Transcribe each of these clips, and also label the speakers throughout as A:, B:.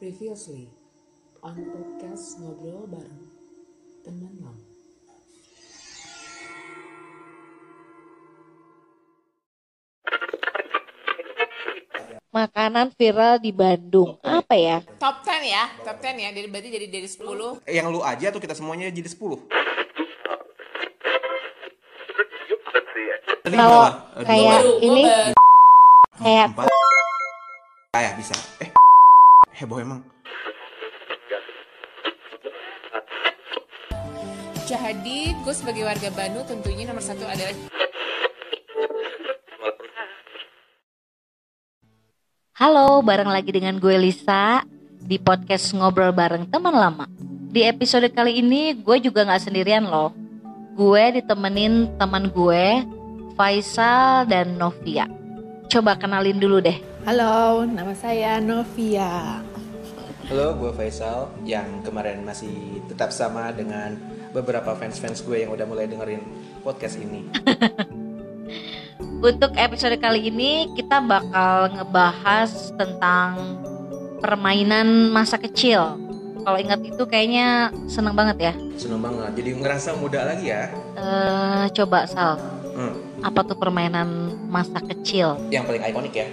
A: Previously on podcast ngobrol bareng teman lang.
B: makanan viral di Bandung. Apa ya?
A: Top 10 ya, top 10 ya. Dari berarti jadi dari 10.
C: yang lu aja atau kita semuanya jadi 10? Tadi
B: Kalau
C: berapa? Eh,
D: Ya,
B: kayak
A: Baru, gua
B: ini
A: baru.
B: kayak
C: Empat. Kayak bisa. Eh. Heboh emang.
A: Jadi gue sebagai warga Bandung tentunya nomor satu adalah
B: Halo, bareng lagi dengan gue Lisa di podcast Ngobrol Bareng Teman Lama. Di episode kali ini gue juga nggak sendirian loh. Gue ditemenin teman gue Faisal dan Novia. Coba kenalin dulu deh.
D: Halo, nama saya Novia.
C: Halo, gue Faisal yang kemarin masih tetap sama dengan beberapa fans-fans gue yang udah mulai dengerin podcast ini.
B: Untuk episode kali ini kita bakal ngebahas tentang permainan masa kecil. Kalau ingat itu kayaknya seneng banget ya.
C: Seneng banget. Jadi ngerasa muda lagi ya.
B: Eh, coba Sal,
C: Hmm.
B: apa tuh permainan masa kecil?
C: Yang paling ikonik ya.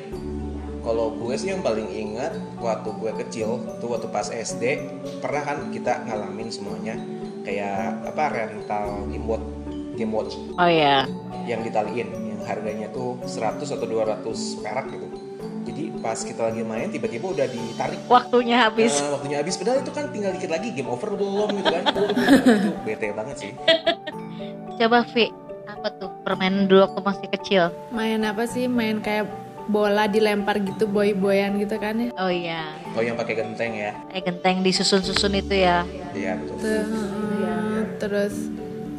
C: Kalau gue sih yang paling ingat waktu gue kecil tuh waktu pas SD pernah kan kita ngalamin semuanya kayak apa rental game watch game watch
B: Oh ya,
C: yang ditaliin yang harganya tuh 100 atau 200 perak gitu jadi pas kita lagi main tiba-tiba udah ditarik
B: waktunya habis.
C: Nah, waktunya habis padahal itu kan tinggal dikit lagi game over belum gitu kan itu bete banget sih
B: Eh, Coba Vi, apa tuh permainan dulu waktu masih kecil?
D: Main apa sih? Main kayak bola dilempar gitu boy-boyan gitu kan ya.
B: Oh ya,
C: kalau yang pakai genteng ya
B: kayak genteng disusun-susun itu ya.
C: iya betul
D: Tuh,
A: Iya.
D: eh, Terus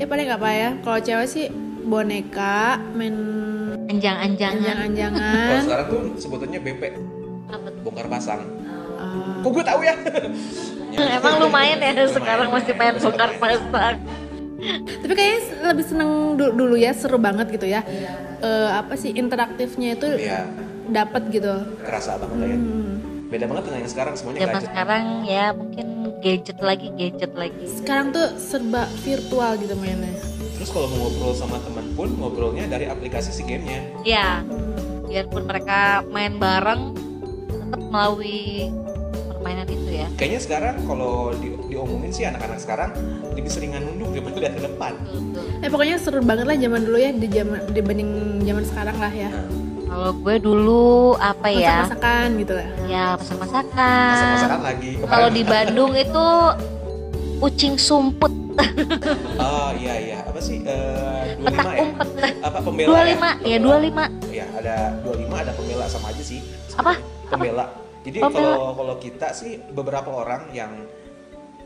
D: ya paling apa ya? Kalau cewek sih boneka, main
A: Nah. Kan?
B: Anjang-anjangan
C: kalau
D: anjang-anjangan.
C: sekarang tuh sebutannya BP
B: apa tuh?
C: bongkar pasang
D: Eh,
C: kok gue tahu ya
B: Emang lumayan ya
C: Lumayan,
B: sekarang masih main
C: lumayan.
B: bongkar
C: Lumayan.
B: pasang.
D: tapi kayaknya s- lebih seneng du- dulu ya, seru banget gitu ya. Eh, apa sih interaktifnya itu
C: iya
D: dapat gitu.
C: kerasa banget lah ya beda banget dengan yang sekarang semuanya
B: Zaman
C: gadget.
B: sekarang ya mungkin gadget lagi, gadget lagi.
D: Sekarang tuh serba virtual gitu mainnya.
C: terus kalau mau ngobrol sama teman pun ngobrolnya dari aplikasi si gamenya
B: Ya, biarpun mereka main bareng, tetap melalui permainan itu ya.
C: kayaknya sekarang kalau di- diomongin sih anak-anak sekarang lebih seringan nunduk daripada lihat ke depan
B: Betul, betul.
D: Eh pokoknya seru banget lah zaman dulu ya di zaman dibanding zaman sekarang lah ya.
B: Ah. Kalau gue dulu apa ya?
D: Masak-masakan gitu lah.
B: Ya masak-masakan.
C: masak-masakan lagi
B: Kalau di
C: Kemarin-
B: Bandung itu kucing sumput,
C: oh iya iya apa sih dua
B: petak
C: lima ya
B: umpet.
C: apa pembela
B: 25 ya 25.
C: ya ada 25 ada pembela sama aja sih
B: Apa?
C: pembela jadi
B: Pembela.
C: kalau kalau kita sih beberapa orang yang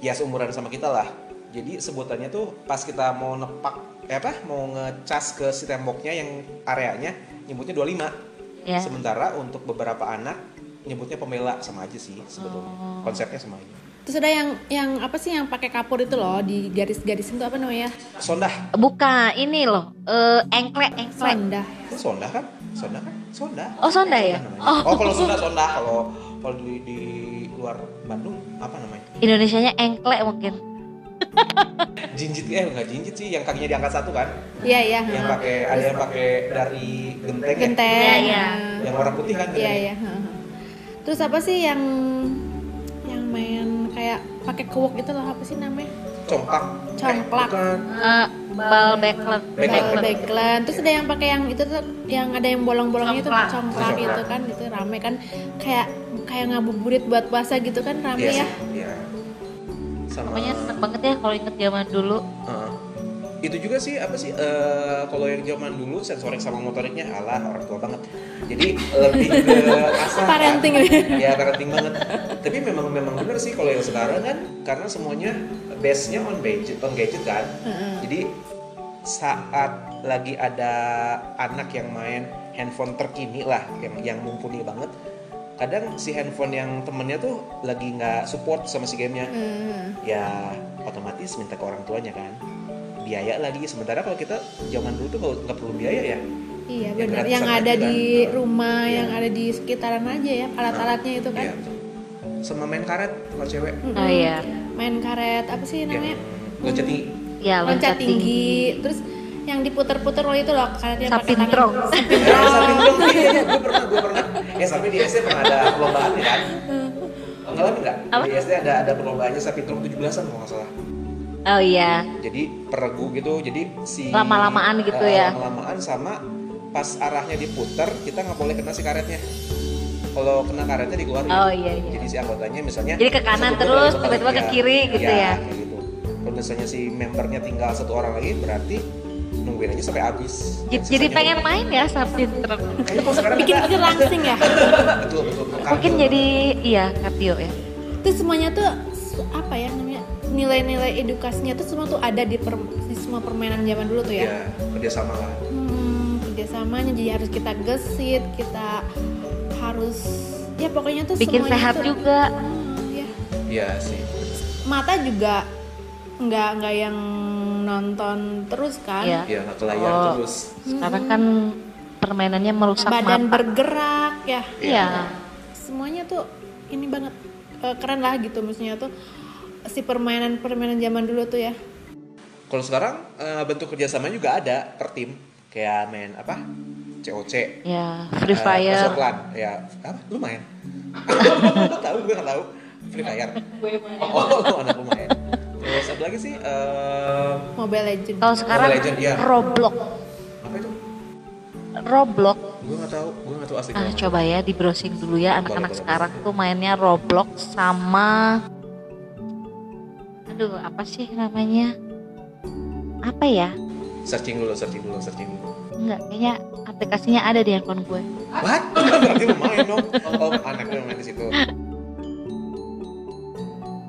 C: ya seumuran sama kita lah jadi sebutannya tuh pas kita mau nepak eh apa mau ngecas ke si temboknya yang areanya nyebutnya 25
B: Ya.
C: Sementara untuk beberapa anak nyebutnya pembela sama aja sih sebetulnya.
B: Oh.
C: Konsepnya sama aja.
D: Terus ada yang yang apa sih yang pakai kapur itu loh di garis-garisin itu apa namanya?
C: Sondah.
B: Buka ini loh, eh engklek, engklek.
D: Sonda.
C: Itu sondah kan? Sondah kan? Sondah.
B: Oh sonda ya?
C: Namanya.
B: Oh,
C: Oh, kalau sondah sondah kalau kalau di, di luar Bandung apa namanya?
B: Indonesianya engklek mungkin.
C: Jinjit eh enggak jinjit sih yang kakinya diangkat satu kan?
D: Iya iya.
C: Yang
D: heeh.
C: pakai ada yang pakai dari genteng ya?
B: Iya,
D: Genteng.
B: iya.
C: Yang warna putih kan?
D: Iya iya. heeh. Terus apa sih yang yang main kayak pakai kewok itu loh apa sih namanya?
C: Congkak.
D: Congklak.
C: bukan.
B: Eh, bal beklek.
C: Beklek.
D: Bal- Backlan. Terus ada yang pakai yang itu tuh yang ada yang bolong-bolongnya itu
B: Congklak.
D: congklak
C: Congklak.
D: itu kan itu rame kan kayak kayak ngabuburit buat puasa gitu kan rame
C: Iya
D: ya.
C: sih, Iya. Sama
B: Pokoknya seneng banget ya kalau inget zaman dulu.
C: Heeh. itu juga sih apa sih eh, kalau yang zaman dulu sensorik sama motoriknya alah orang tua banget jadi lebih ke asal kan.
D: Parenting.
C: ya parenting banget tapi memang memang benar sih kalau yang sekarang kan karena semuanya base nya on gadget on gadget kan jadi saat lagi ada anak yang main handphone terkini lah yang yang mumpuni banget kadang si handphone yang temennya tuh lagi nggak support sama si gamenya
D: Hmm.
C: ya otomatis minta ke orang tuanya kan biaya lagi sementara kalau kita zaman dulu tuh nggak nggak perlu biaya ya
D: Iya
C: Ya,
D: benar.
C: berat
D: Yang
C: sangat
D: ada
C: juga.
D: di
C: Nah,
D: rumah,
C: iya.
D: yang ada di sekitaran aja ya, alat-alatnya itu kan.
C: Iya. Sama main karet kalau cewek. Iya.
D: Mm-mm.
B: Oh iya.
D: Main karet apa sih namanya?
C: Loncat tinggi.
B: Ya
D: Loncat tinggi. Terus yang diputer-puter loh itu loh karetnya pakai tangan.
B: Sapintrong.
C: Eh, sapi dong. Iya, iya, gue pernah, gue pernah. Ya sampai di SD pernah ada perlombaan ya kan. Ngalamin nggak?
B: Apa?
C: Di SD ada ada perlombaannya sapi dong 17-an kalau nggak salah.
B: Oh iya.
C: Jadi peregu gitu. Jadi si
B: Lama-lamaan gitu
C: Eh,
B: ya.
C: Lama-lamaan sama pas arahnya diputer kita nggak boleh kena si karetnya. Kalau kena karetnya dikeluarin.
B: Oh iya iya.
C: Jadi si anggotanya misalnya
B: Jadi ke kanan
C: satu
B: terus,
C: dua,
B: tiba-tiba ke
C: iya.
B: kiri gitu
C: Iya,
B: ya.
C: kayak gitu. Kalau misalnya si membernya tinggal satu orang lagi berarti nungguin aja sampai habis.
B: J- Jadi pengen main ya Sapintrong.
C: Kayaknya kalau sekarang
D: Bikin
C: ada.
D: pikir langsing ya.
C: betul betul. betul.
B: Mungkin
C: Kartu.
B: jadi iya kardio ya.
D: Terus semuanya tuh s- apa ya namanya? Nilai-nilai edukasinya tuh semua tuh ada di, per- di semua permainan zaman dulu tuh ya.
C: Iya, kerja sama lah.
D: Hmm, kerjasamanya jadi harus kita gesit, kita harus ya pokoknya tuh
B: Bikin
D: semuanya
B: sehat
D: tuh-
B: juga.
D: Hmm, ya.
C: Iya sih.
D: mata juga nggak nggak yang nonton terus kan
B: Iya.
C: Iya, nggak ke layar
B: Oh.
C: terus.
B: Sekarang kan permainannya merusak
D: badan
B: mata.
D: bergerak ya
B: Iya.
D: semuanya tuh ini banget eh, keren lah gitu maksudnya tuh si permainan permainan zaman dulu tuh ya
C: Kalau sekarang eh, bentuk kerjasama juga ada per tim. Kayak main apa? COC.
B: Ya, Free
C: eh,
B: Fire.
C: Persoklan. Ya, apa? Lu main? tahu gue nggak tahu. Free Fire. Oh, lu anak lu main. Terus apa lagi sih? Eh,
D: Mobile Legend
B: Kalau sekarang
C: Mobile Legend, iya.
B: Roblox.
C: apa itu?
B: Roblox.
C: Gue nggak tahu. Gue nggak tahu asli.
B: Ah, coba ya di browsing dulu ya
C: Boleh,
B: anak-anak
C: boleh.
B: sekarang tuh mainnya Roblox sama Aduh, apa sih namanya? Apa ya?
C: Searching dulu, searching dulu, searching dulu.
B: Enggak, kayaknya aplikasinya ada di handphone gue.
C: What? Berarti lu main dong. Oh, anak lu yang main di situ.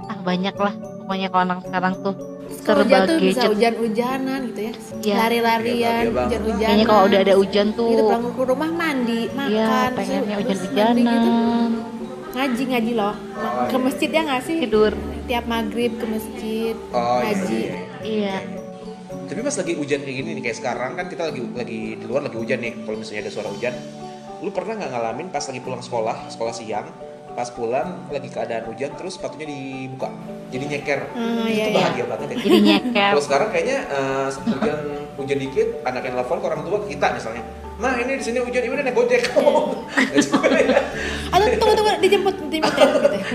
B: Ah, banyak lah. Pokoknya kalau anak sekarang tuh
D: Terus kalau hujan
B: serba
D: tuh bisa
B: gadget.
D: hujan-hujanan gitu ya
B: Iya.
D: lari-larian
C: Iya, banget.
D: hujan-hujanan
B: Kayaknya kalau udah ada hujan tuh
D: gitu pulang ke rumah mandi makan
B: Iya,
D: terus-
B: pengennya
D: terus
B: hujan-hujanan,
D: mandi gitu. ngaji ngaji loh ke masjid ya nggak sih
B: tidur.
D: tiap maghrib ke masjid
C: Oh, iya,
D: ngaji
C: iya, iya.
B: Iya.
C: Tapi pas lagi hujan kayak gini nih kayak sekarang kan kita lagi lagi di luar lagi hujan nih. Kalau misalnya ada suara hujan, lu pernah nggak ngalamin pas lagi pulang sekolah, sekolah siang, pas pulang lagi keadaan hujan terus sepatunya dibuka. Jadi nyeker.
D: Ah,
C: itu
D: iya, iya.
C: bahagia banget ya.
B: Jadi nyeker.
C: Kalau sekarang kayaknya eh, hujan hujan dikit, anak yang telepon ke orang tua ke kita misalnya. Mah ini di sini hujan, ini udah naik gojek. Nggak juga ya.
D: atau tunggu tunggu dijemput dijemput ya, gitu ya.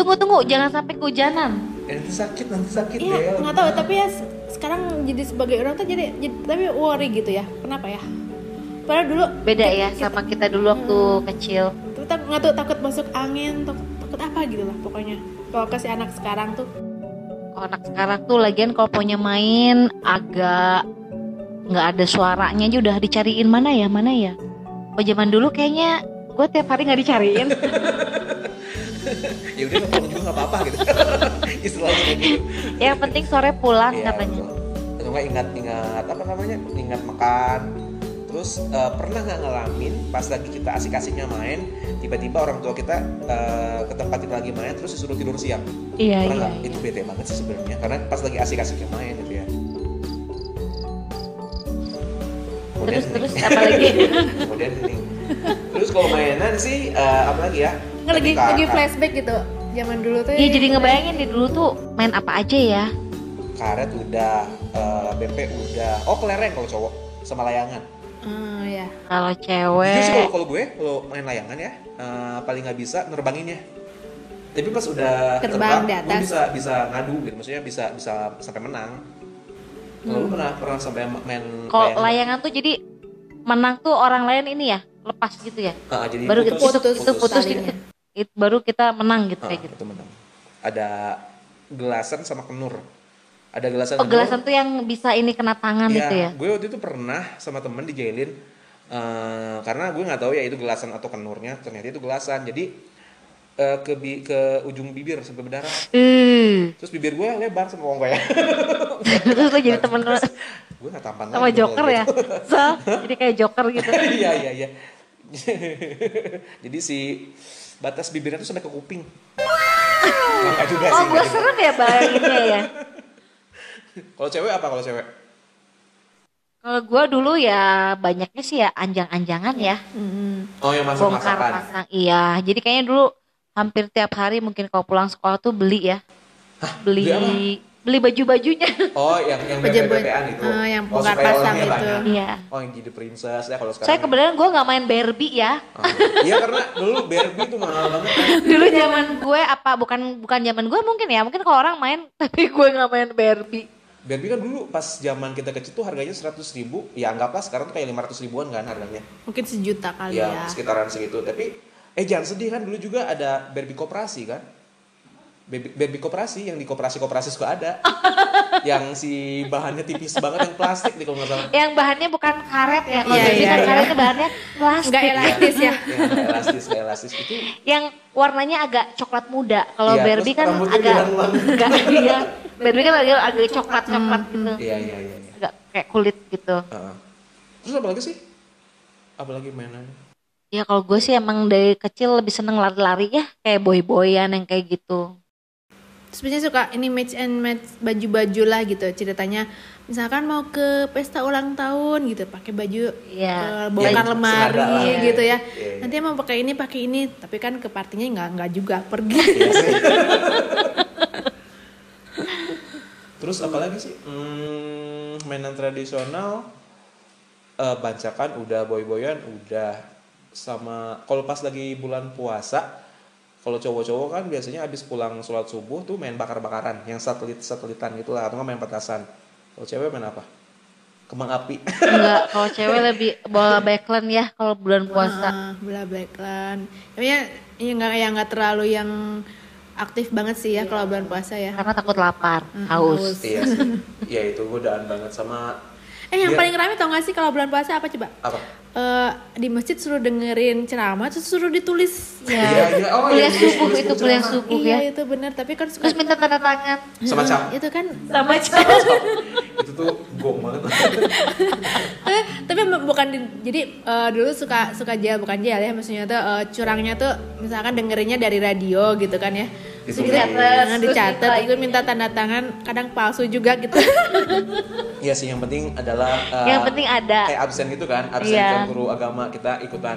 B: Tunggu tunggu, jangan sampai kehujanan.
C: Ya, Nanti sakit, nanti sakit
D: Iya,
C: Del.
D: nggak tahu tapi ya se- sekarang jadi sebagai orang tuh jadi, jadi- tapi worry gitu ya. Kenapa ya? Padahal dulu
B: Beda ya sama kita dulu waktu kecil.
D: kita nggak tahu takut masuk angin, takut, takut apa gitu lah pokoknya. Kalau kasih anak sekarang tuh
B: Kalau anak sekarang tuh lagian kalau punya main agak nggak ada suaranya aja udah dicariin mana ya mana ya. Oh zaman dulu kayaknya gue tiap hari nggak dicariin.
C: Ya udah nggak pulang juga nggak apa-apa gitu. Istilahnya kayak gitu.
B: Yang penting sore pulang
C: Iya,
B: katanya.
C: betul. Atau nggak ingat-ingat apa namanya? Ingat makan. Terus eh, pernah nggak ngalamin pas lagi kita asik-asiknya main, tiba-tiba orang tua kita eh, ke tempat kita lagi main terus disuruh tidur siang.
B: Iya
C: pernah
B: iya.
C: nggak? Itu bete banget sih sebenarnya karena pas lagi asik-asiknya main gitu ya. Kemudian
B: Terus
C: hening.
B: terus apalagi
C: Kemudian hening. Terus kalau mainan sih eh, apa lagi ya?
D: nggak kan lagi
C: Ketika-
D: lagi flashback gitu. Zaman dulu tuh.
B: Iya jadi ngebayangin di dulu tuh main apa aja ya.
C: karet udah, eh, BP udah, oh kelereng kalau cowok sama layangan.
D: Ah, ya.
B: Kalau
C: Jujur sih
B: cewek
C: kalau kalau gue kalau main layangan ya eh, paling nggak bisa nerbanginnya. Tapi pas udah
D: Terbang di
C: gue
D: atas.
C: bisa bisa ngadu gitu, maksudnya bisa bisa sampai menang. Kalau
B: Hmm.
C: lu pernah pernah sampai ma- main
B: kalau layangan tuh jadi menang tuh orang lain ini ya lepas gitu ya.
C: Ah, jadi
B: Baru itu
C: putus,
B: putus, itu putus
D: talinya.
B: gitu. It- baru kita menang gitu
C: Ah,
B: kayak gitu.
C: itu menang. Ada gelasan sama kenur. Ada gelasan.
B: Oh,
C: kenur.
B: gelasan tuh yang bisa ini kena tangan
C: Iya,
B: itu ya.
C: gue waktu itu pernah sama temen dijailin eh, karena gue nggak tahu ya itu gelasan atau kenurnya ternyata itu gelasan jadi eh, ke bi- ke ujung bibir sampai berdarah
B: Eh,
C: terus bibir gue lebar sama bongkok ya
B: terus lo jadi temen lo
C: gue nggak tampan
B: sama
C: lagi
B: Joker
C: kalau
B: ya.
C: gitu.
B: So, jadi kayak Joker gitu.
C: iya iya iya jadi si batas bibirnya tuh sampai ke kuping Nggak juga
B: Oh,
C: sih
B: gue serem ya bayanginnya ya.
C: kalau cewek apa kalau cewek
B: Kalau gue dulu ya banyaknya sih ya anjang-anjangan ya.
C: Oh yang masuk
B: Bongkar
C: masakan.
B: pasang. Iya, jadi kayaknya dulu hampir tiap hari mungkin kalau pulang sekolah tuh beli ya. beli
C: beli apa?
B: beli baju-bajunya.
C: Oh yang yang
D: Pejabat.
C: bebe-bebean itu.
B: eh,
D: Ah, yang
C: Oh,
D: bongkar
C: supaya
D: pasang
C: orangnya
D: itu.
C: banyak.
B: Iya.
C: Oh yang jadi princess ya kalau sekarang.
B: Saya kebetulan gue nggak main Barbie ya.
C: Oh. Iya karena dulu Barbie tuh mahal banget.
B: Dulu zaman gue apa bukan bukan zaman gue mungkin ya. Mungkin kalau orang main tapi gue nggak main Barbie.
C: Barbie kan dulu pas zaman kita kecil tuh harganya 100 ribu, ya anggaplah sekarang tuh kayak 500 ribuan kan harganya.
D: Mungkin sejuta kali
C: ya,
D: ya.
C: sekitaran segitu. Tapi eh jangan sedih kan dulu juga ada Barbie koperasi kan. Barbie, Barbie koperasi yang di koperasi-koperasi suka ada. yang si bahannya tipis banget yang plastik di kalau nggak salah.
B: Yang bahannya bukan karet ya. Kalau
D: Iya,
B: Barbie
D: iya,
B: kan
D: iya.
B: karetnya bahannya plastik.
D: Enggak elastis ya.
C: Ya, nggak elastis, nggak elastis itu.
B: yang warnanya agak coklat muda. Kalau
C: Iya,
B: Barbie
C: terus
B: kan
C: rambutnya
B: agak
C: diulang-ulang.
B: enggak iya. Barbie kan agak agak coklat coklat gitu.
C: Iya, iya, iya. iya.
B: Agak kayak kulit gitu.
C: Heeh. Terus apa lagi sih? Apa lagi mainan?
B: Ya kalau gue sih emang dari kecil lebih seneng lari-lari ya kayak boy-boyan yang kayak gitu.
D: Terus biasanya suka ini match and match baju-baju lah gitu ceritanya. Misalkan mau ke pesta ulang tahun gitu, pakai baju
B: Iya.
D: eh, bongkar
C: Yang
D: lemari
C: senada lah.
D: gitu ya.
C: iya.
D: Nanti mau pakai ini, pakai ini, tapi kan ke partinya nggak nggak juga pergi.
C: Iya sih. Terus apa lagi sih? Hmm, mainan tradisional eh, bancakan udah boy-boyan udah sama kalau pas lagi bulan puasa kalau cowok-cowok kan biasanya abis pulang sholat subuh tuh main bakar-bakaran yang satelit-satelitan gitu lah atau nggak main petasan kalau cewek main apa kembang api
B: Enggak, kalau cewek lebih bola backland ya kalau bulan puasa.
D: Ah, bla blacklan. Emangnya ini nggak yang nggak terlalu yang aktif banget sih ya kalau bulan puasa ya.
B: Karena takut lapar, Hmm, haus.
C: iya sih iya itu godaan banget sama
D: Eh yang
C: Biar-
D: paling rame tau gak sih kalau bulan puasa apa coba?
C: apa
D: Eh, di masjid suruh dengerin ceramah terus suruh ditulis.
C: Iya, iya. Oh, iya,
B: Ya. kuliah
C: iya,
B: subuh
C: iya,
B: itu
C: iya,
B: kuliah
C: iya.
B: subuh ya.
D: iya itu benar tapi kan suka
B: Terus minta tanda tangan.
C: sama cap
D: itu kan
B: Sama
C: itu tuh gong banget
D: eh, tapi bu- bukan di- jadi eh, dulu suka suka jail bukan jail ya maksudnya tuh eh, curangnya tuh misalkan dengerinnya dari radio gitu kan ya terus
C: Ditulis.
D: gitu dicatat,
B: Terus
D: dicatat
B: minta
D: itu minta tanda tangan kadang palsu juga gitu
C: Iya sih, yang penting adalah eh,
B: Yang penting ada.
C: kayak absen gitu kan, absen
B: Iya.
C: kan guru agama kita ikutan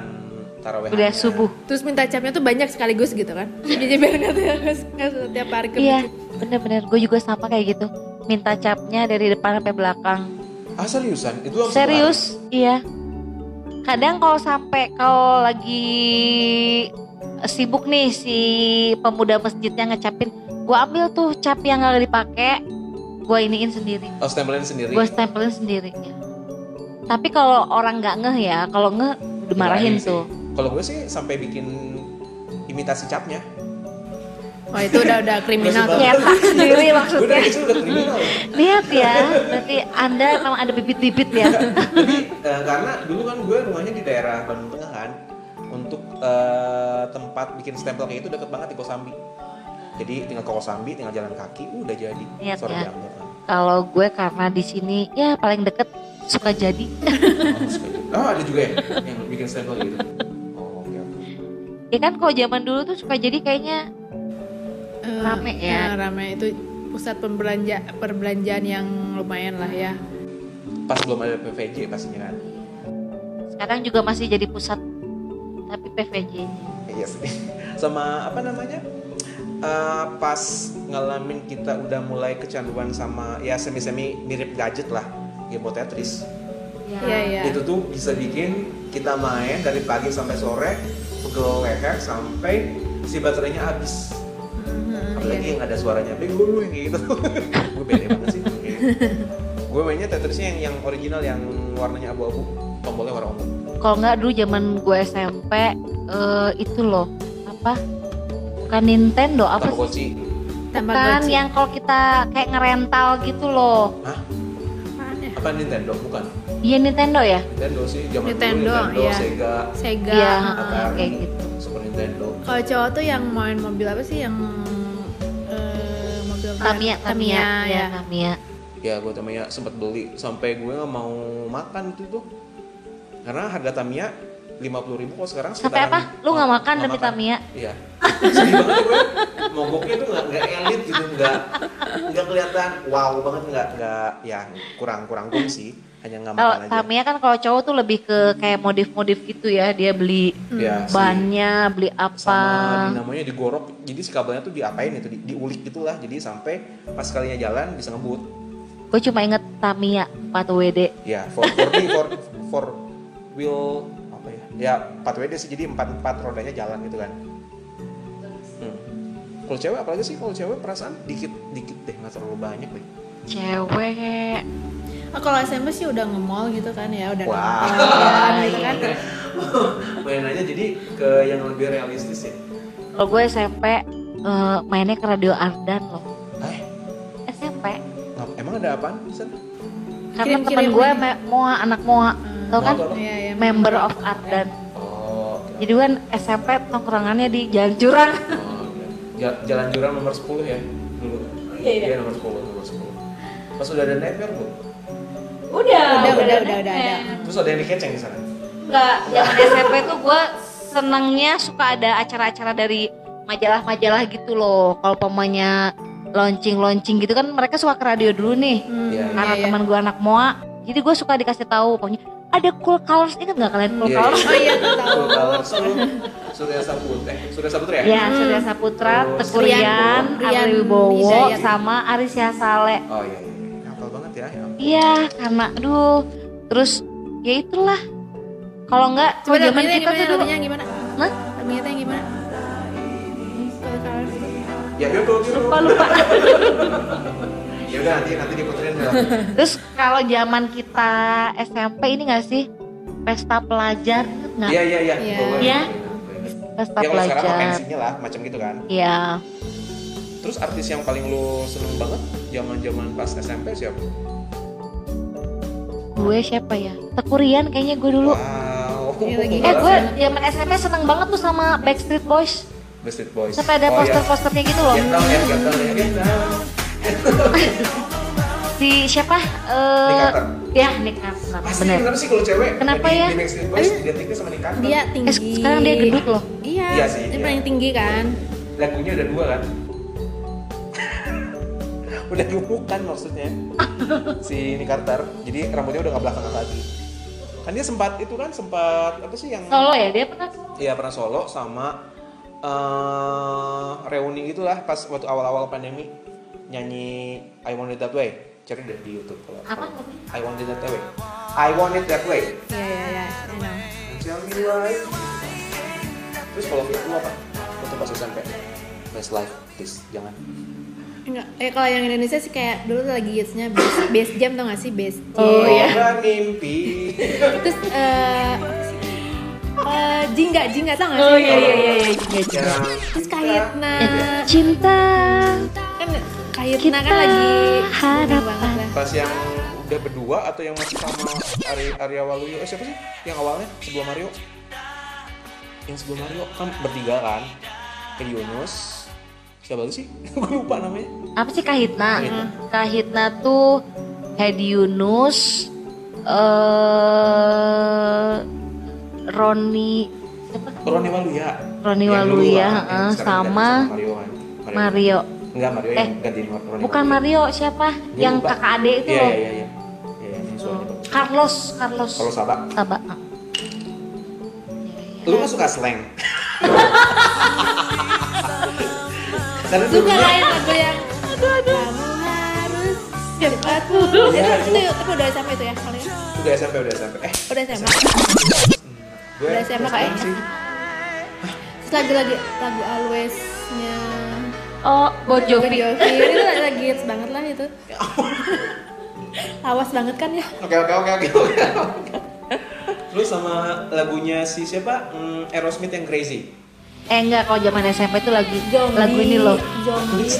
C: taraweh.
B: Kuliah subuh.
D: terus minta capnya tuh banyak sekaligus gitu kan jadi biar nggak tiap- nggak tiap hari ke
B: Iya, bener-bener. Gue juga sama kayak gitu. Minta capnya dari depan sampai belakang.
C: Ah seriusan? Itu langsung
B: Serius, iya. Kadang kalau sampai kalau lagi sibuk nih si pemuda masjidnya ngecapin, gue ambil tuh cap yang gak dipakai, gue iniin sendiri,
C: lari. Oh, stempelin sendiri.
B: gue stempelin sendiri. ya. Tapi kalau orang nggak ngeh ya, kalau ngeh dimarahin
C: Dimarahin sih.
B: tuh.
C: Kalau gue sih sampai bikin imitasi capnya.
D: wah Oh, itu udah udah kriminal tuh
B: Nyetak sendiri
C: Gue
B: maksudnya.
C: dari kecil udah kriminal.
B: Lihat ya, berarti anda memang ada bibit-bibit ya.
C: Tapi eh, karena dulu kan gue rumahnya di daerah Bandung Tengah kan, untuk eh, tempat bikin stempel kayak itu deket banget di Kosambi. Jadi tinggal ke Kosambi, tinggal jalan kaki, udah jadi.
B: Iya,
C: Sore
B: iya.
C: jam kan.
B: Kalau gue karena di sini ya paling deket suka jadi.
C: Oh, suka gitu. Oh, ada juga ya yang bikin stempel gitu. Oh, oke. oke.
B: Ya kan kalau zaman dulu tuh suka jadi kayaknya
D: Eh,
B: Rame ya.
D: eh, rame itu pusat pembelanja perbelanjaan yang lumayan lah ya
C: Pas belum ada PVJ pastinya kan.
B: sekarang juga masih jadi pusat tapi PVJ.
C: Iya sih. Sama apa namanya? Eh, pas ngalamin kita udah mulai kecanduan sama ya semi-semi mirip gadget lah game Tetris
D: iya iya
C: itu tuh bisa bikin kita main dari pagi sampai sore pegel leher sampai si baterainya habis
D: Mhm,
C: apalagi
D: iya.
C: yang ada suaranya bego lu yang kayak gitu gue beda banget sih Kayak gitu. gue mainnya Tetrisnya yang yang original yang warnanya abu-abu tombolnya warna ungu
B: Kalau nggak dulu zaman gue SMP eh, itu loh apa? Bukan Nintendo apa sih?
C: Tamagotchi
B: Bukan
D: Tamagotchi.
B: yang kalau kita kayak ngerental gitu loh.
C: Hah?
D: Apaan ya?
C: apa Nintendo bukan
B: Iya Nintendo ya?
C: Nintendo sih zaman
D: Nintendo,
C: dulu Nintendo
D: iya.
C: Sega
D: Sega.
B: Iya,
D: heeh.
B: heeh,
C: Atari
B: kayak gitu.
C: Super Nintendo
D: Kalau cowok tuh yang main mobil apa sih yang eh, mobil
B: Tamiya, Tamiya,
D: ya.
B: ya, Tamiya.
C: ya gue Tamiya sempat beli sampai gue nggak mau makan itu tuh karena harga Tamiya lima puluh ribu kok sekarang
B: Sampai apa?
C: sekitaran-
B: Lu nggak makan demi Tamiya?
C: iya sedih banget gue mogoknya tuh nggak nggak elit gitu nggak nggak kelihatan wow banget nggak nggak ya kurang kurang gue sih hanya
B: Kalau
C: ngamal aja
B: Tamiya kan kalau cowok tuh lebih ke kayak modif-modif gitu ya, dia beli
C: ya si-
B: bannya, beli
C: sama
B: apa.
C: dinamonya digorok jadi si kabelnya tuh diapain itu di, diulik gitulah jadi sampai pas kalinya jalan bisa ngebut
B: Gue cuma inget Tamiya 4WD.
C: ya for for di- for, for wheel apa ya ya empat WD sih jadi empat empat rodanya jalan gitu kan hmm. kalau cewek apalagi sih kalau cewek perasaan dikit dikit deh nggak terlalu banyak deh
B: Cewek.
D: Oh, kalau SMP sih udah nge-mall gitu kan ya, udah
C: Wah.
D: nonton gitu kan.
C: mainannya jadi ke yang lebih realistis ya
B: Kalau gue SMP eh, mainnya ke Radio Ardan loh.
C: eh
B: SMP.
C: ngap- emang ada apaan di sana
B: Karena
D: Kirim-kirim
B: teman gue
D: lagi.
B: me- Moa, anak Moa. Tau kan?
C: Motor.
D: Iya, iya.
B: Member of Ardan.
C: oh, oke.
B: Jadi kan SMP tongkrongannya di jalan curang.
C: Oh, oke. Ja- Jalan Jurang nomor 10 ya dulu. Iya, nomor 10, nomor 10. Pas udah ada neper, Bu.
B: Udah,
D: Udah, udah, udah, udah, ada.
C: Terus ada yang dikeceng di sana.
B: Enggak, zaman SMP tuh gue senangnya suka ada acara-acara dari majalah-majalah gitu loh. Kalau pemanya launching-launching gitu kan mereka suka ke radio dulu nih.
D: Hmm,
C: Iya,
D: iya,
B: Karena
D: iya.
B: teman gue anak moa, jadi gue suka dikasih tahu pokoknya ada cool colors ingat nggak kalian cool
C: Iya,
B: colors?
D: Oh iya, aku tahu.
C: Suruh Balar, suruh Surya Saputra. Eh, Surya Saputra ya?
B: Ya, Surya
D: Hmm.
B: Saputra,
C: Terus
B: Teku Rian,
D: Rian
B: Ari Wibowo,
D: Wijaya.
B: sama Aris Sale.
C: Oh iya, iya. iya. Hafal banget ya. ya.
B: Iya, karena aduh, terus ya itulah. Kalau enggak,
D: Coba
B: kalau zaman
D: lagunya
B: kita tuh
D: gimana?
B: dulu,
D: Lagunya gimana?
B: Hah?
D: Lagunya tuh yang gimana?
C: Ya gitu, gitu.
B: lupa lupa.
C: Ya udah nanti nanti diputerin ya.
B: Terus kalau zaman kita SMP ini nggak sih pesta pelajar ingat nggak?
C: Iya, iya, iya.
D: Iya.
C: Boleh,
B: Iya.
C: boleh, boleh.
B: Pesta
C: Ya kalau sekarang mah
B: pelajar.
C: pensinya lah, macam gitu kan.
B: Iya.
C: Terus artis yang paling lu seneng banget zaman-zaman pas SMP siapa?
B: Gue siapa ya? Tekurian kayaknya gue dulu.
C: Wow.
D: Iya, lagi.
B: Eh gue zaman SMP seneng banget tuh sama Backstreet Boys.
C: Backstreet Boys.
B: Sampai ada
C: Oh, iya.
B: poster-posternya gitu loh.
C: Get down, ya, get down, ya, get down.
B: Si siapa? Eh,
C: Nick Carter.
B: ya Nick Carter.
C: Pasti
B: Bener.
C: kenapa sih kalau cewek
B: Kenapa
C: di,
B: ya?
C: di Backstreet Boys identiknya sama Nick Carter?
D: Dia tinggi.
B: Eh, sekarang dia gendut loh.
D: Iya,
C: Iya sih,
D: dia
C: iya.
D: paling tinggi kan.
C: Lagunya ada dua kan? udah gemukan maksudnya si Nick Carter jadi rambutnya udah nggak belakangan lagi kan dia sempat itu kan sempat apa sih yang
B: Solo ya dia pernah. solo.
C: Iya pernah solo sama eh reuni gitulah pas waktu awal-awal pandemi nyanyi I Want It That Way cari deh di YouTube kalau
B: Apa?
C: I Want It That Way I Want It That Way
D: Iya, iya, iya. I know.
C: Tell me why. terus kalau fit lu apa waktu pas SMP Best life please jangan
D: Enggak, eh kalau yang Indonesia sih kayak dulu tuh lagi hitsnya base, base jam tau gak sih base jam.
B: Oh, iya.
C: Semoga mimpi
D: Terus eh eh, jingga jingga tau gak sih?
B: Oh iya iya iya iya. iya.
C: yang
D: Terus
C: kita-
D: kayetna
C: Iya.
B: Cinta
D: kan kayetna kan lagi booming banget lah.
C: pas yang udah berdua atau yang masih sama Ari Arya Waluyo eh siapa sih yang awalnya sebelum Mario yang sebelum Mario kan bertiga kan ke Yunus siapa lagi sih gue lupa namanya
B: apa sih Kahitna? Kahitna tuh Hedi Yunus, eh Roni siapa?
C: Roni Waluya
B: Roni
C: Yang dulu
B: Waluya,
C: kan, yang
B: eh,
C: sekarang ganti
B: sama
C: Mario kan Mario,
B: Mario.
C: enggak Mario
B: Eh,
C: yang ganti Roni
B: Bukan
C: Waluya.
B: Mario siapa?
C: Gua
B: Yang
C: lupa.
B: kakak adik itu
C: iya
B: loh.
C: iya iya iya Iya, iya, yang suaranya bagus.
B: Carlos, Carlos. Ah.
C: kalau Sabak
B: Taba.
C: lu kan suka slang Karena tuh
D: Suka kan lagu yang kamu harus cepat pulang. Eh,
C: Iya,
D: Itu itu
C: iya.
D: itu udah SMP itu ya kalau ya?
C: udah SMP udah SMP eh
D: Udah SMA.
C: gue
D: Udah SMA kayaknya.
C: sih.
D: Terus lagi lagi lagu Always-nya
B: Oh, Bon
D: Bon
B: Jovi.
D: Jovi. itu lagi lagi hits banget lah itu. Lawas banget kan ya?
C: Oke oke oke oke. oke. Lu sama lagunya si siapa? Mm, Aerosmith yang Crazy.
B: Eh enggak, kalau zaman SMP itu lagi
D: Zombie.
B: lagu ini loh.
D: Zombie.
B: Eh,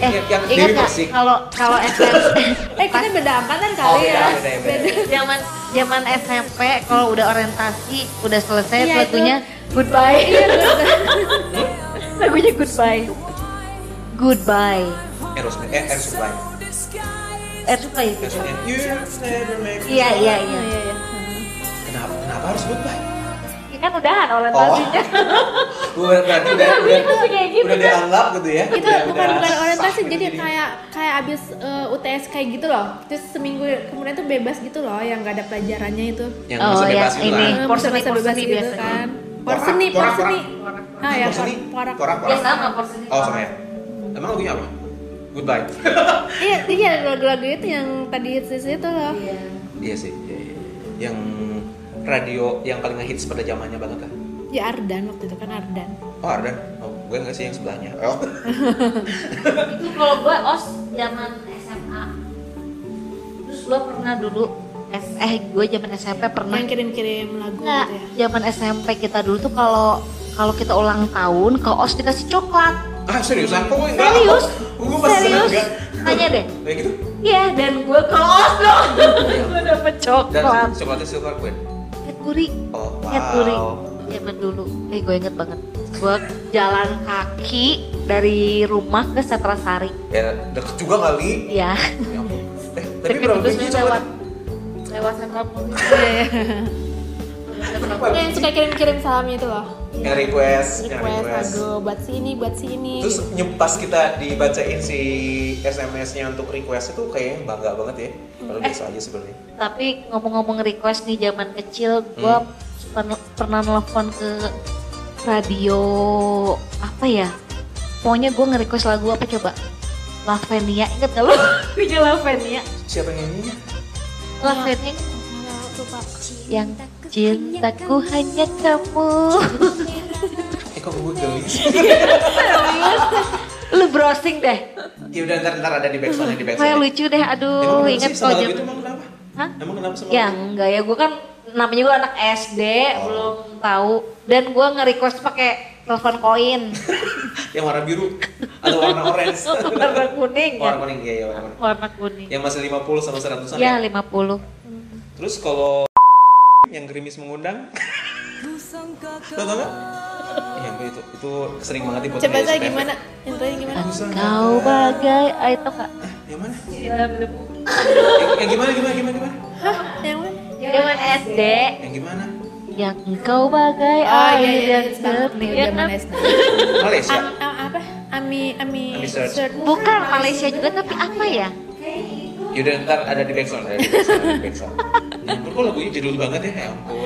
C: Yang- yang
B: ingat
C: Dewi
B: nggak
C: Persik.
B: kalau kalau SMP
D: Eh kita beda angkatan
C: Oh, beda,
D: kali
B: iya,
D: ya.
C: beda, beda.
B: zaman zaman SMP kalau udah orientasi udah selesai
D: Iya,
B: lagunya goodbye lagunya goodbye goodbye
C: Aerosmith, eh Air Supply.
B: eh suka ya?
C: Air Supply. You never make me
B: iya iya
D: Iya
B: iya
D: iya iya.
C: Kenapa, kenapa harus goodbye?
B: ya, kan kan udahan
C: Oh.
B: orientasinya.
C: Gue Oh. berarti udah udah
B: kayak gitu,
C: udah
B: kan?
C: dianggap gitu ya.
D: itu
C: Udah-
D: bukan
C: udah
D: bukan
C: sah
D: orientasi
C: gitu
D: jadi
C: jadinya.
D: kayak kayak abis eh, UTS kayak gitu loh terus seminggu kemudian tuh bebas gitu loh yang gak ada pelajarannya itu
C: yang
B: Oh,
C: masa
B: yang
C: bebas gitu
B: ini.
C: kan.
D: Eh,
B: Porseni-
D: masa-masa bebas
B: porseni
D: gitu
B: biasanya.
D: kan
C: Porak,
D: porseni
C: porak,
D: porseni
C: porak.
D: ah ya
C: Porseni,
D: porak
C: porak,
B: Ya
C: porak.
B: sama posisi.
C: Oh sama ya. Emang lagunya apa? Goodbye.
D: iya iya lagu-lagu itu yang tadi hits hits itu loh
A: Iya.
C: Iya sih. iya, iya. Yang radio yang paling ngehits pada zamannya banget kan.
D: ya Ardan waktu itu kan Ardan
C: Oh Ardan. Oh, gue nggak sih yang sebelahnya. Oh.
B: Itu kalau gue os zaman SMA. Terus lo pernah dulu S eh gue zaman SMP pernah
D: yang kirim-kirim lagu
B: Enggak,
D: gitu ya
B: zaman SMP kita dulu tuh kalau kalau kita ulang tahun ke os dikasih coklat.
C: Ah seriusan? Kok gue enggak?
B: Serius?
C: Gue pasti
B: Serius?
C: enggak.
B: Tanya deh.
C: Kayak gitu.
B: Iya, dan gue ke os dong. gue dapet
C: Dan
B: coklat.
C: coklatnya silver queen.
B: Kuri.
C: Oh wow.
B: Caturi zaman dulu eh gue inget banget gue jalan kaki dari rumah ke Setrasari
C: Ya deket juga kali.
B: ya
C: Ya ampun. Eh, tapi
B: Deket
C: berapa
B: terus
C: biji
B: lewat
C: coklat?
B: lewat Setrapoli
D: Iya, Nah, yang suka kirim-kirim salam itu loh
C: Yang request, yang
D: request
C: request.
D: lagu buat sini buat sini
C: Terus nyem- pas kita dibacain si SMS-nya untuk request itu kayaknya bangga banget ya. Kalau
B: Eh.
C: biasa aja sebenarnya.
B: tapi ngomong-ngomong request nih zaman kecil gue
C: Hmm.
B: suka nel- pernah nelfon ke radio apa ya pokoknya gue nge-request lagu apa coba Lavenia inget gak lo? Punya Lavenia
C: Siapa yang nyanyinya?
B: Lavenia
D: Lupa.
B: yang cintaku hanya kamu
C: Eh kok gue geli sih?
B: lu browsing deh
C: Ya udah ntar ntar ada di backsound di backsound.
B: kayak lucu deh
D: Eh,
B: aduh inget
C: sih
B: kalau
C: sama lagu
D: gitu?
C: itu
B: jam
C: emang kenapa?
B: Hah?
C: Emang kenapa sama
B: ya
C: lagu itu?
B: enggak ya gue kan namanya gue anak SD
D: Oh.
B: belum tahu dan gue nge-request pakai telepon koin
C: Yang warna biru atau warna orange?
B: warna kuning ya
C: warna kuning iya iya warna kuning.
B: warna
D: Ya,
B: kuning
C: Yang masih 50 sama 100-an
B: ya 50
C: Terus kalau yang gerimis mengundang, lo tau gak? Iya, Mbak, itu itu sering banget dibuat.
D: coba
C: di
D: saya
C: SPP.
D: gimana yang tadi gimana
B: kau bagai ah, itu kak
C: Yang mana? yang, yang gimana gimana gimana gimana?
D: hah yang mana
B: Zaman SD
C: Yang gimana?
B: yang kau bagai
D: oh
B: air
D: iya iya
B: yang
D: hits banget nih
B: jernih Ya
D: zaman
B: kan?
D: SD
C: Malaysia.
D: Am- am- apa ami ami
C: Ami search.
D: search.
B: bukan Malaysia juga tapi apa ya
C: Yaudah ntar ada di backsound, ada di backsound, ada di backsound. Ya ampun, kok lagunya jadul banget ya, ya ampun.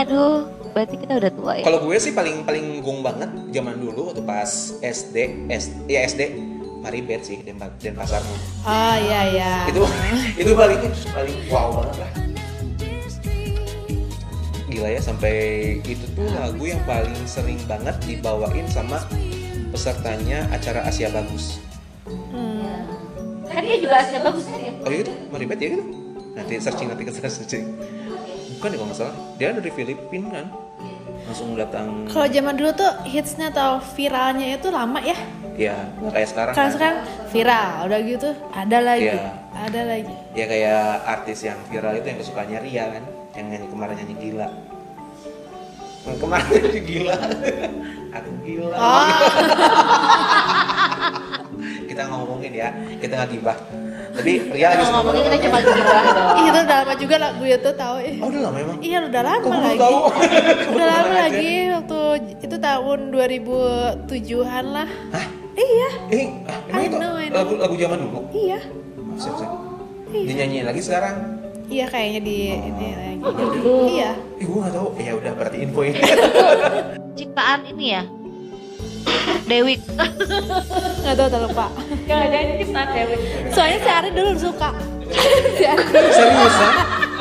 B: aduh berarti kita udah tua ya
C: Kalau gue sih paling paling gong banget zaman dulu waktu pas SD, S, ya SD, Maribet sih Denpa- Denpasarmu.
D: oh iya iya
C: itu itu paling paling wow banget lah gila ya sampai itu tuh lagu yang paling sering banget dibawain sama pesertanya acara Asia Bagus
B: kan dia juga asli bagus kan ya
C: oh iya tuh meribet ya itu nanti searching nanti kita searching bukan ya kalau nggak salah dia dari Filipina kan langsung datang
D: kalau zaman dulu tuh hitsnya atau viralnya itu lama ya
C: ya nggak kayak sekarang
D: kalau
C: kan.
D: sekarang viral udah gitu ada lagi
C: Iya.
D: ada lagi
C: ya kayak artis yang viral itu yang kesukaannya Ria kan yang nyanyi kemarin nyanyi gila yang kemarin nyanyi gila aku gila
D: Oh.
C: kita ngomongin ya kita nggak gibah tapi Ria lagi sama
B: ngomongnya kita cuma gibah doang.
D: Ih, itu udah lama juga lagu itu tahu eh.
C: oh udah lama emang
D: iya udah lama
C: Kok gue belum
D: lagi
C: tahu?
D: udah lama
C: Kebetulan aja.
D: lagi waktu itu tahun 2007-an lah
C: Hah?
D: iya
C: eh ah, emang
D: I
C: itu
D: know, I know.
C: lagu lagu zaman dulu
D: iya
C: siap siap dinyanyiin lagi sekarang
D: iya kayaknya di ini
C: Oh,
D: lagi
B: Dulu.
D: iya
C: eh gue nggak tahu ya udah berarti info ini
B: ciptaan ini ya Dewi
D: nggak tahu terlalu lupa
B: Gak ada ini ciptaan Dewi
D: soalnya si Ari dulu suka si Ari dulu.
C: serius ya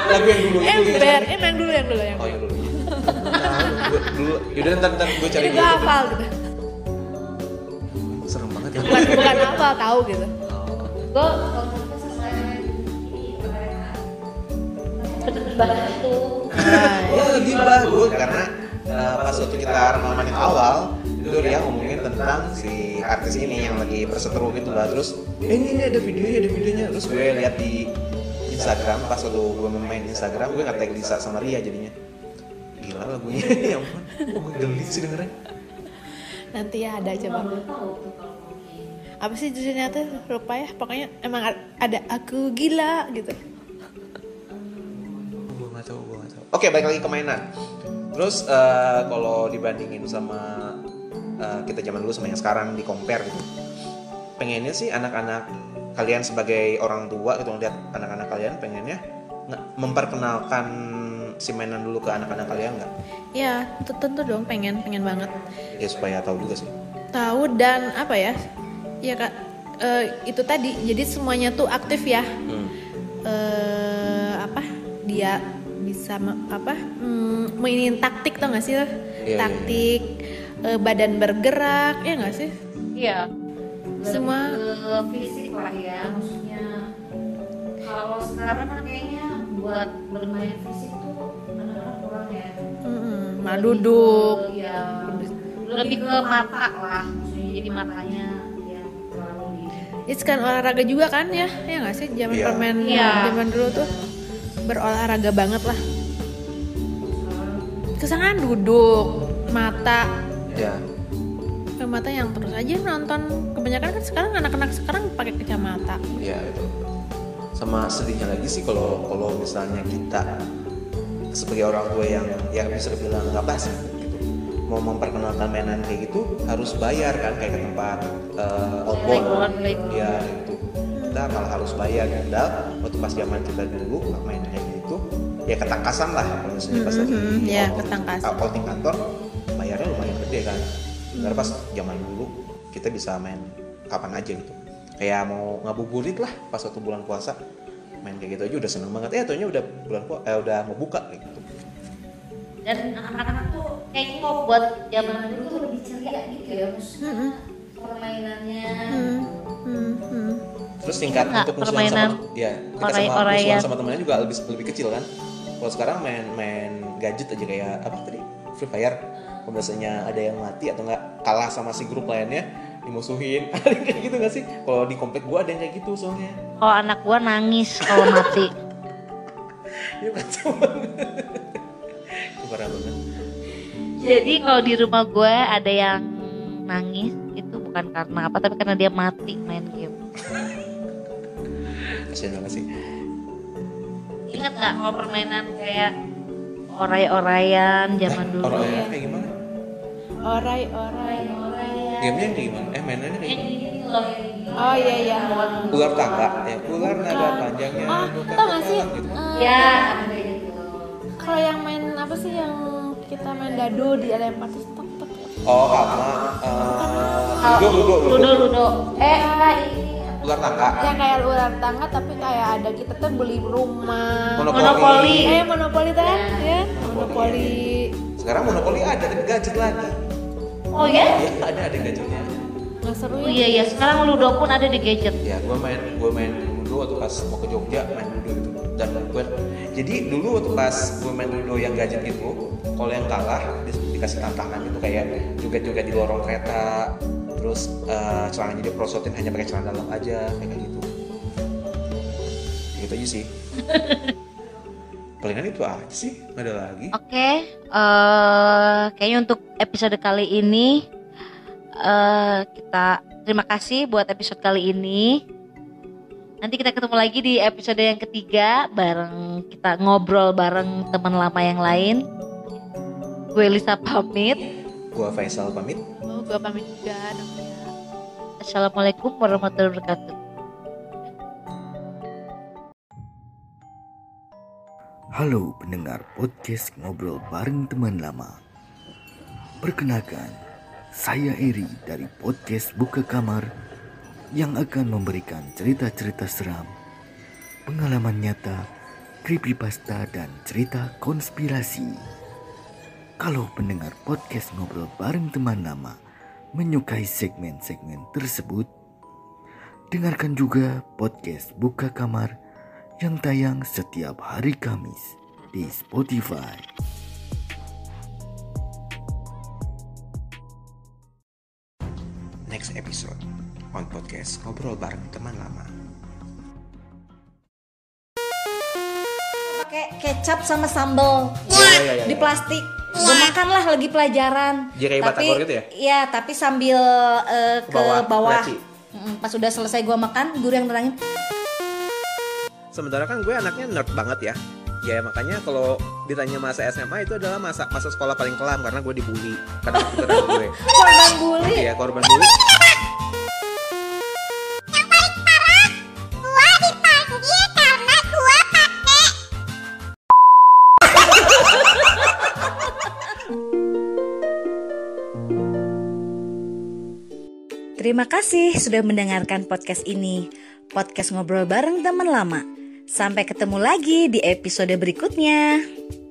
C: lagu yang dulu
D: ember eh yang dulu yang dulu yang
C: Oh yang dulu. Nah, gua, dulu. Yaudah ntar ntar gue cari
D: jadi
C: dulu.
D: gue hafal gitu
C: Serem banget ya.
D: bukan bukan hafal tahu gitu
B: Gue banget itu
D: Nah,
C: Gue gibah gue Ya, karena eh, pas waktu kita rekaman yang awal itu dia ngomongin tentang si artis ini yang lagi berseteru gitu lah terus eh, ini, ini ada videonya ada videonya terus gue lihat di Instagram pas waktu gue main Instagram gue nge-tag Lisa sama Ria jadinya gila lagunya ya ampun oh, gue geli sih dengernya
D: nanti ya ada coba apa sih judulnya tuh lupa ya pokoknya emang a- ada aku gila gitu
C: gue nggak tahu gue nggak tahu oke balik lagi ke mainan Terus eh, kalau dibandingin sama eh, kita zaman dulu sama yang sekarang di compare gitu. Pengennya sih anak-anak kalian sebagai orang tua gitu ngeliat anak-anak kalian pengennya nge- memperkenalkan si mainan dulu ke anak-anak kalian nggak?
D: Ya, t- tentu dong pengen pengen banget
C: Ya supaya tahu juga sih.
D: tahu dan apa ya? Ya Kak, eh, itu tadi. Jadi semuanya tuh aktif ya. Eh, apa? Dia bisa me- apa? Mm, mainin taktik tau gak sih? lo?
C: iya, iya.
D: taktik eh, badan bergerak ya gak sih?
B: Iya.
D: Semua
B: Ke fisik lah ya, maksudnya kalau sekarang kan kayaknya buat bermain fisik tuh anak-anak kurang ya.
D: mm, malah duduk.
B: Lebih ke- ya, lebih ke mata lah, maksudnya jadi matanya yang terlalu di
D: It's kan olahraga juga kan ya? Ya gak sih? Zaman
C: Iya.
D: permen
B: Iya.
D: zaman dulu tuh berolahraga banget lah. Kesangan duduk, mata,
C: Ya.
D: eh, mata yang terus aja nonton. Kebanyakan kan sekarang anak-anak sekarang pakai kacamata.
C: Iya itu. Sama sedihnya lagi sih kalau kalau misalnya kita sebagai orang tua yang ya bisa bilang nggak pas gitu mau memperkenalkan mainan kayak gitu harus bayar kan kayak ke tempat eh, outbound
B: baik.
C: ya itu kita kalau harus bayar dan waktu pas zaman kita dulu nggak main kayak gitu ya ketangkasan lah kalau misalnya pas lagi
D: Mhm, ya,
C: out-
D: ketangkasan.
C: out- outing kantor bayarnya lumayan gede kan karena pas zaman dulu kita bisa main kapan aja gitu kayak mau ngabuburit lah pas satu bulan puasa main kayak gitu aja udah seneng banget eh taunya udah bulan puasa eh udah mau buka kayak gitu
B: Dan anak-anak tuh kayaknya mau buat zaman dulu tuh lebih ceria gitu ya, maksudnya permainannya.
D: Hmm, hmm, hmm.
C: terus tingkat
B: Nggak,
C: untuk musuhan
B: permainan
C: sama ya kita
B: orai-
C: sama
B: oraian.
C: musuhan sama temannya juga lebih lebih kecil kan kalau sekarang main main gadget aja kayak apa tadi free fire kalau biasanya ada yang mati atau nggak kalah sama si grup lainnya dimusuhin ada yang kayak gitu nggak sih kalau di komplek gua ada yang kayak gitu soalnya
B: Kalau anak gua nangis kalau mati.
C: ya kacau banget Itu parah banget
B: Jadi kalau di rumah gue ada yang nangis itu bukan karena apa tapi karena dia mati main game.
C: kasian banget sih
B: Ingat nggak kalau permainan kayak orai-oraian zaman dulu?
C: orang
D: Iya.
C: orangnya kayak gimana
D: Orai, orai.
B: Orai-oraian.
C: gamenya kayak gimana eh mainannya kayak
B: Yang
C: gimana
B: ini loh. yang ini.
D: Oh iya iya.
C: ular tangga ya ular naga panjangnya
D: Ah,
C: bukan
D: tau gak
C: kepala,
D: sih?
C: gitu.
D: eh,
B: Ya. ada itu.
D: Kalau yang main apa sih yang kita main dadu di lempar terus tok tok.
C: oh sama eh, ludo ludo
B: Ludo, ludo. Eh,
D: Ya.
B: ah, ini
C: ular tangga
D: Yang kayak ular tangga tapi kayak ada kita tuh beli rumah.
B: Monopoli.
D: Eh monopoli kan? Ya, monopoli.
C: sekarang monopoli ada tapi gadget lagi
B: Oh ya?
C: ya ada ada gadgetnya
D: Nggak seru
B: Oh
D: ya?
B: iya iya. Sekarang ludo pun ada di gadget.
C: ya gue main gue main ludo waktu pas mau ke Jogja main ludo itu dan gue jadi dulu waktu pas gue main ludo yang gadget gitu kalau yang kalah di- dikasih tantangan gitu kayak joget-joget di lorong kereta terus eh, celananya diprosotin hanya pakai celana dalam aja kayak gitu gitu aja sih palingan itu aja sih nggak ada lagi
B: Oke, eh kayaknya untuk episode kali ini eh kita terima kasih buat episode kali ini. Nanti kita ketemu lagi di episode yang ketiga bareng kita ngobrol bareng teman lama yang lain. Gue Lisa pamit.
C: gue Faisal pamit
D: Oh, gua pamit juga dong ya.
B: Assalamualaikum warahmatullahi wabarakatuh.
E: Halo pendengar podcast Ngobrol Bareng Teman Lama Perkenalkan, saya Eri dari podcast Buka Kamar Yang akan memberikan cerita-cerita seram Pengalaman nyata, creepypasta dan cerita konspirasi Kalau pendengar podcast Ngobrol Bareng Teman Lama Menyukai segmen-segmen tersebut Dengarkan juga podcast Buka Kamar yang tayang setiap hari Kamis di Spotify.
C: next episode on podcast ngobrol bareng teman lama
F: pakai kecap sama sambal
C: Iya, iya, iya,
F: di
C: iya.
F: plastik gue makan lah lagi pelajaran
C: Jadi kayak batagor gitu ya?
F: iya tapi sambil eh, ke
C: Ke bawah,
F: bawah,
C: laci.
F: Mm, pas udah selesai gue makan guru yang nerangin
C: sementara kan gue anaknya nerd banget ya ya makanya kalau ditanya masa SMA itu adalah masa masa sekolah paling kelam karena gue dibully karena itu gue
B: korban bully
C: iya korban bully
B: Terima kasih sudah mendengarkan podcast ini. Podcast ngobrol bareng teman lama. Sampai ketemu lagi di episode berikutnya.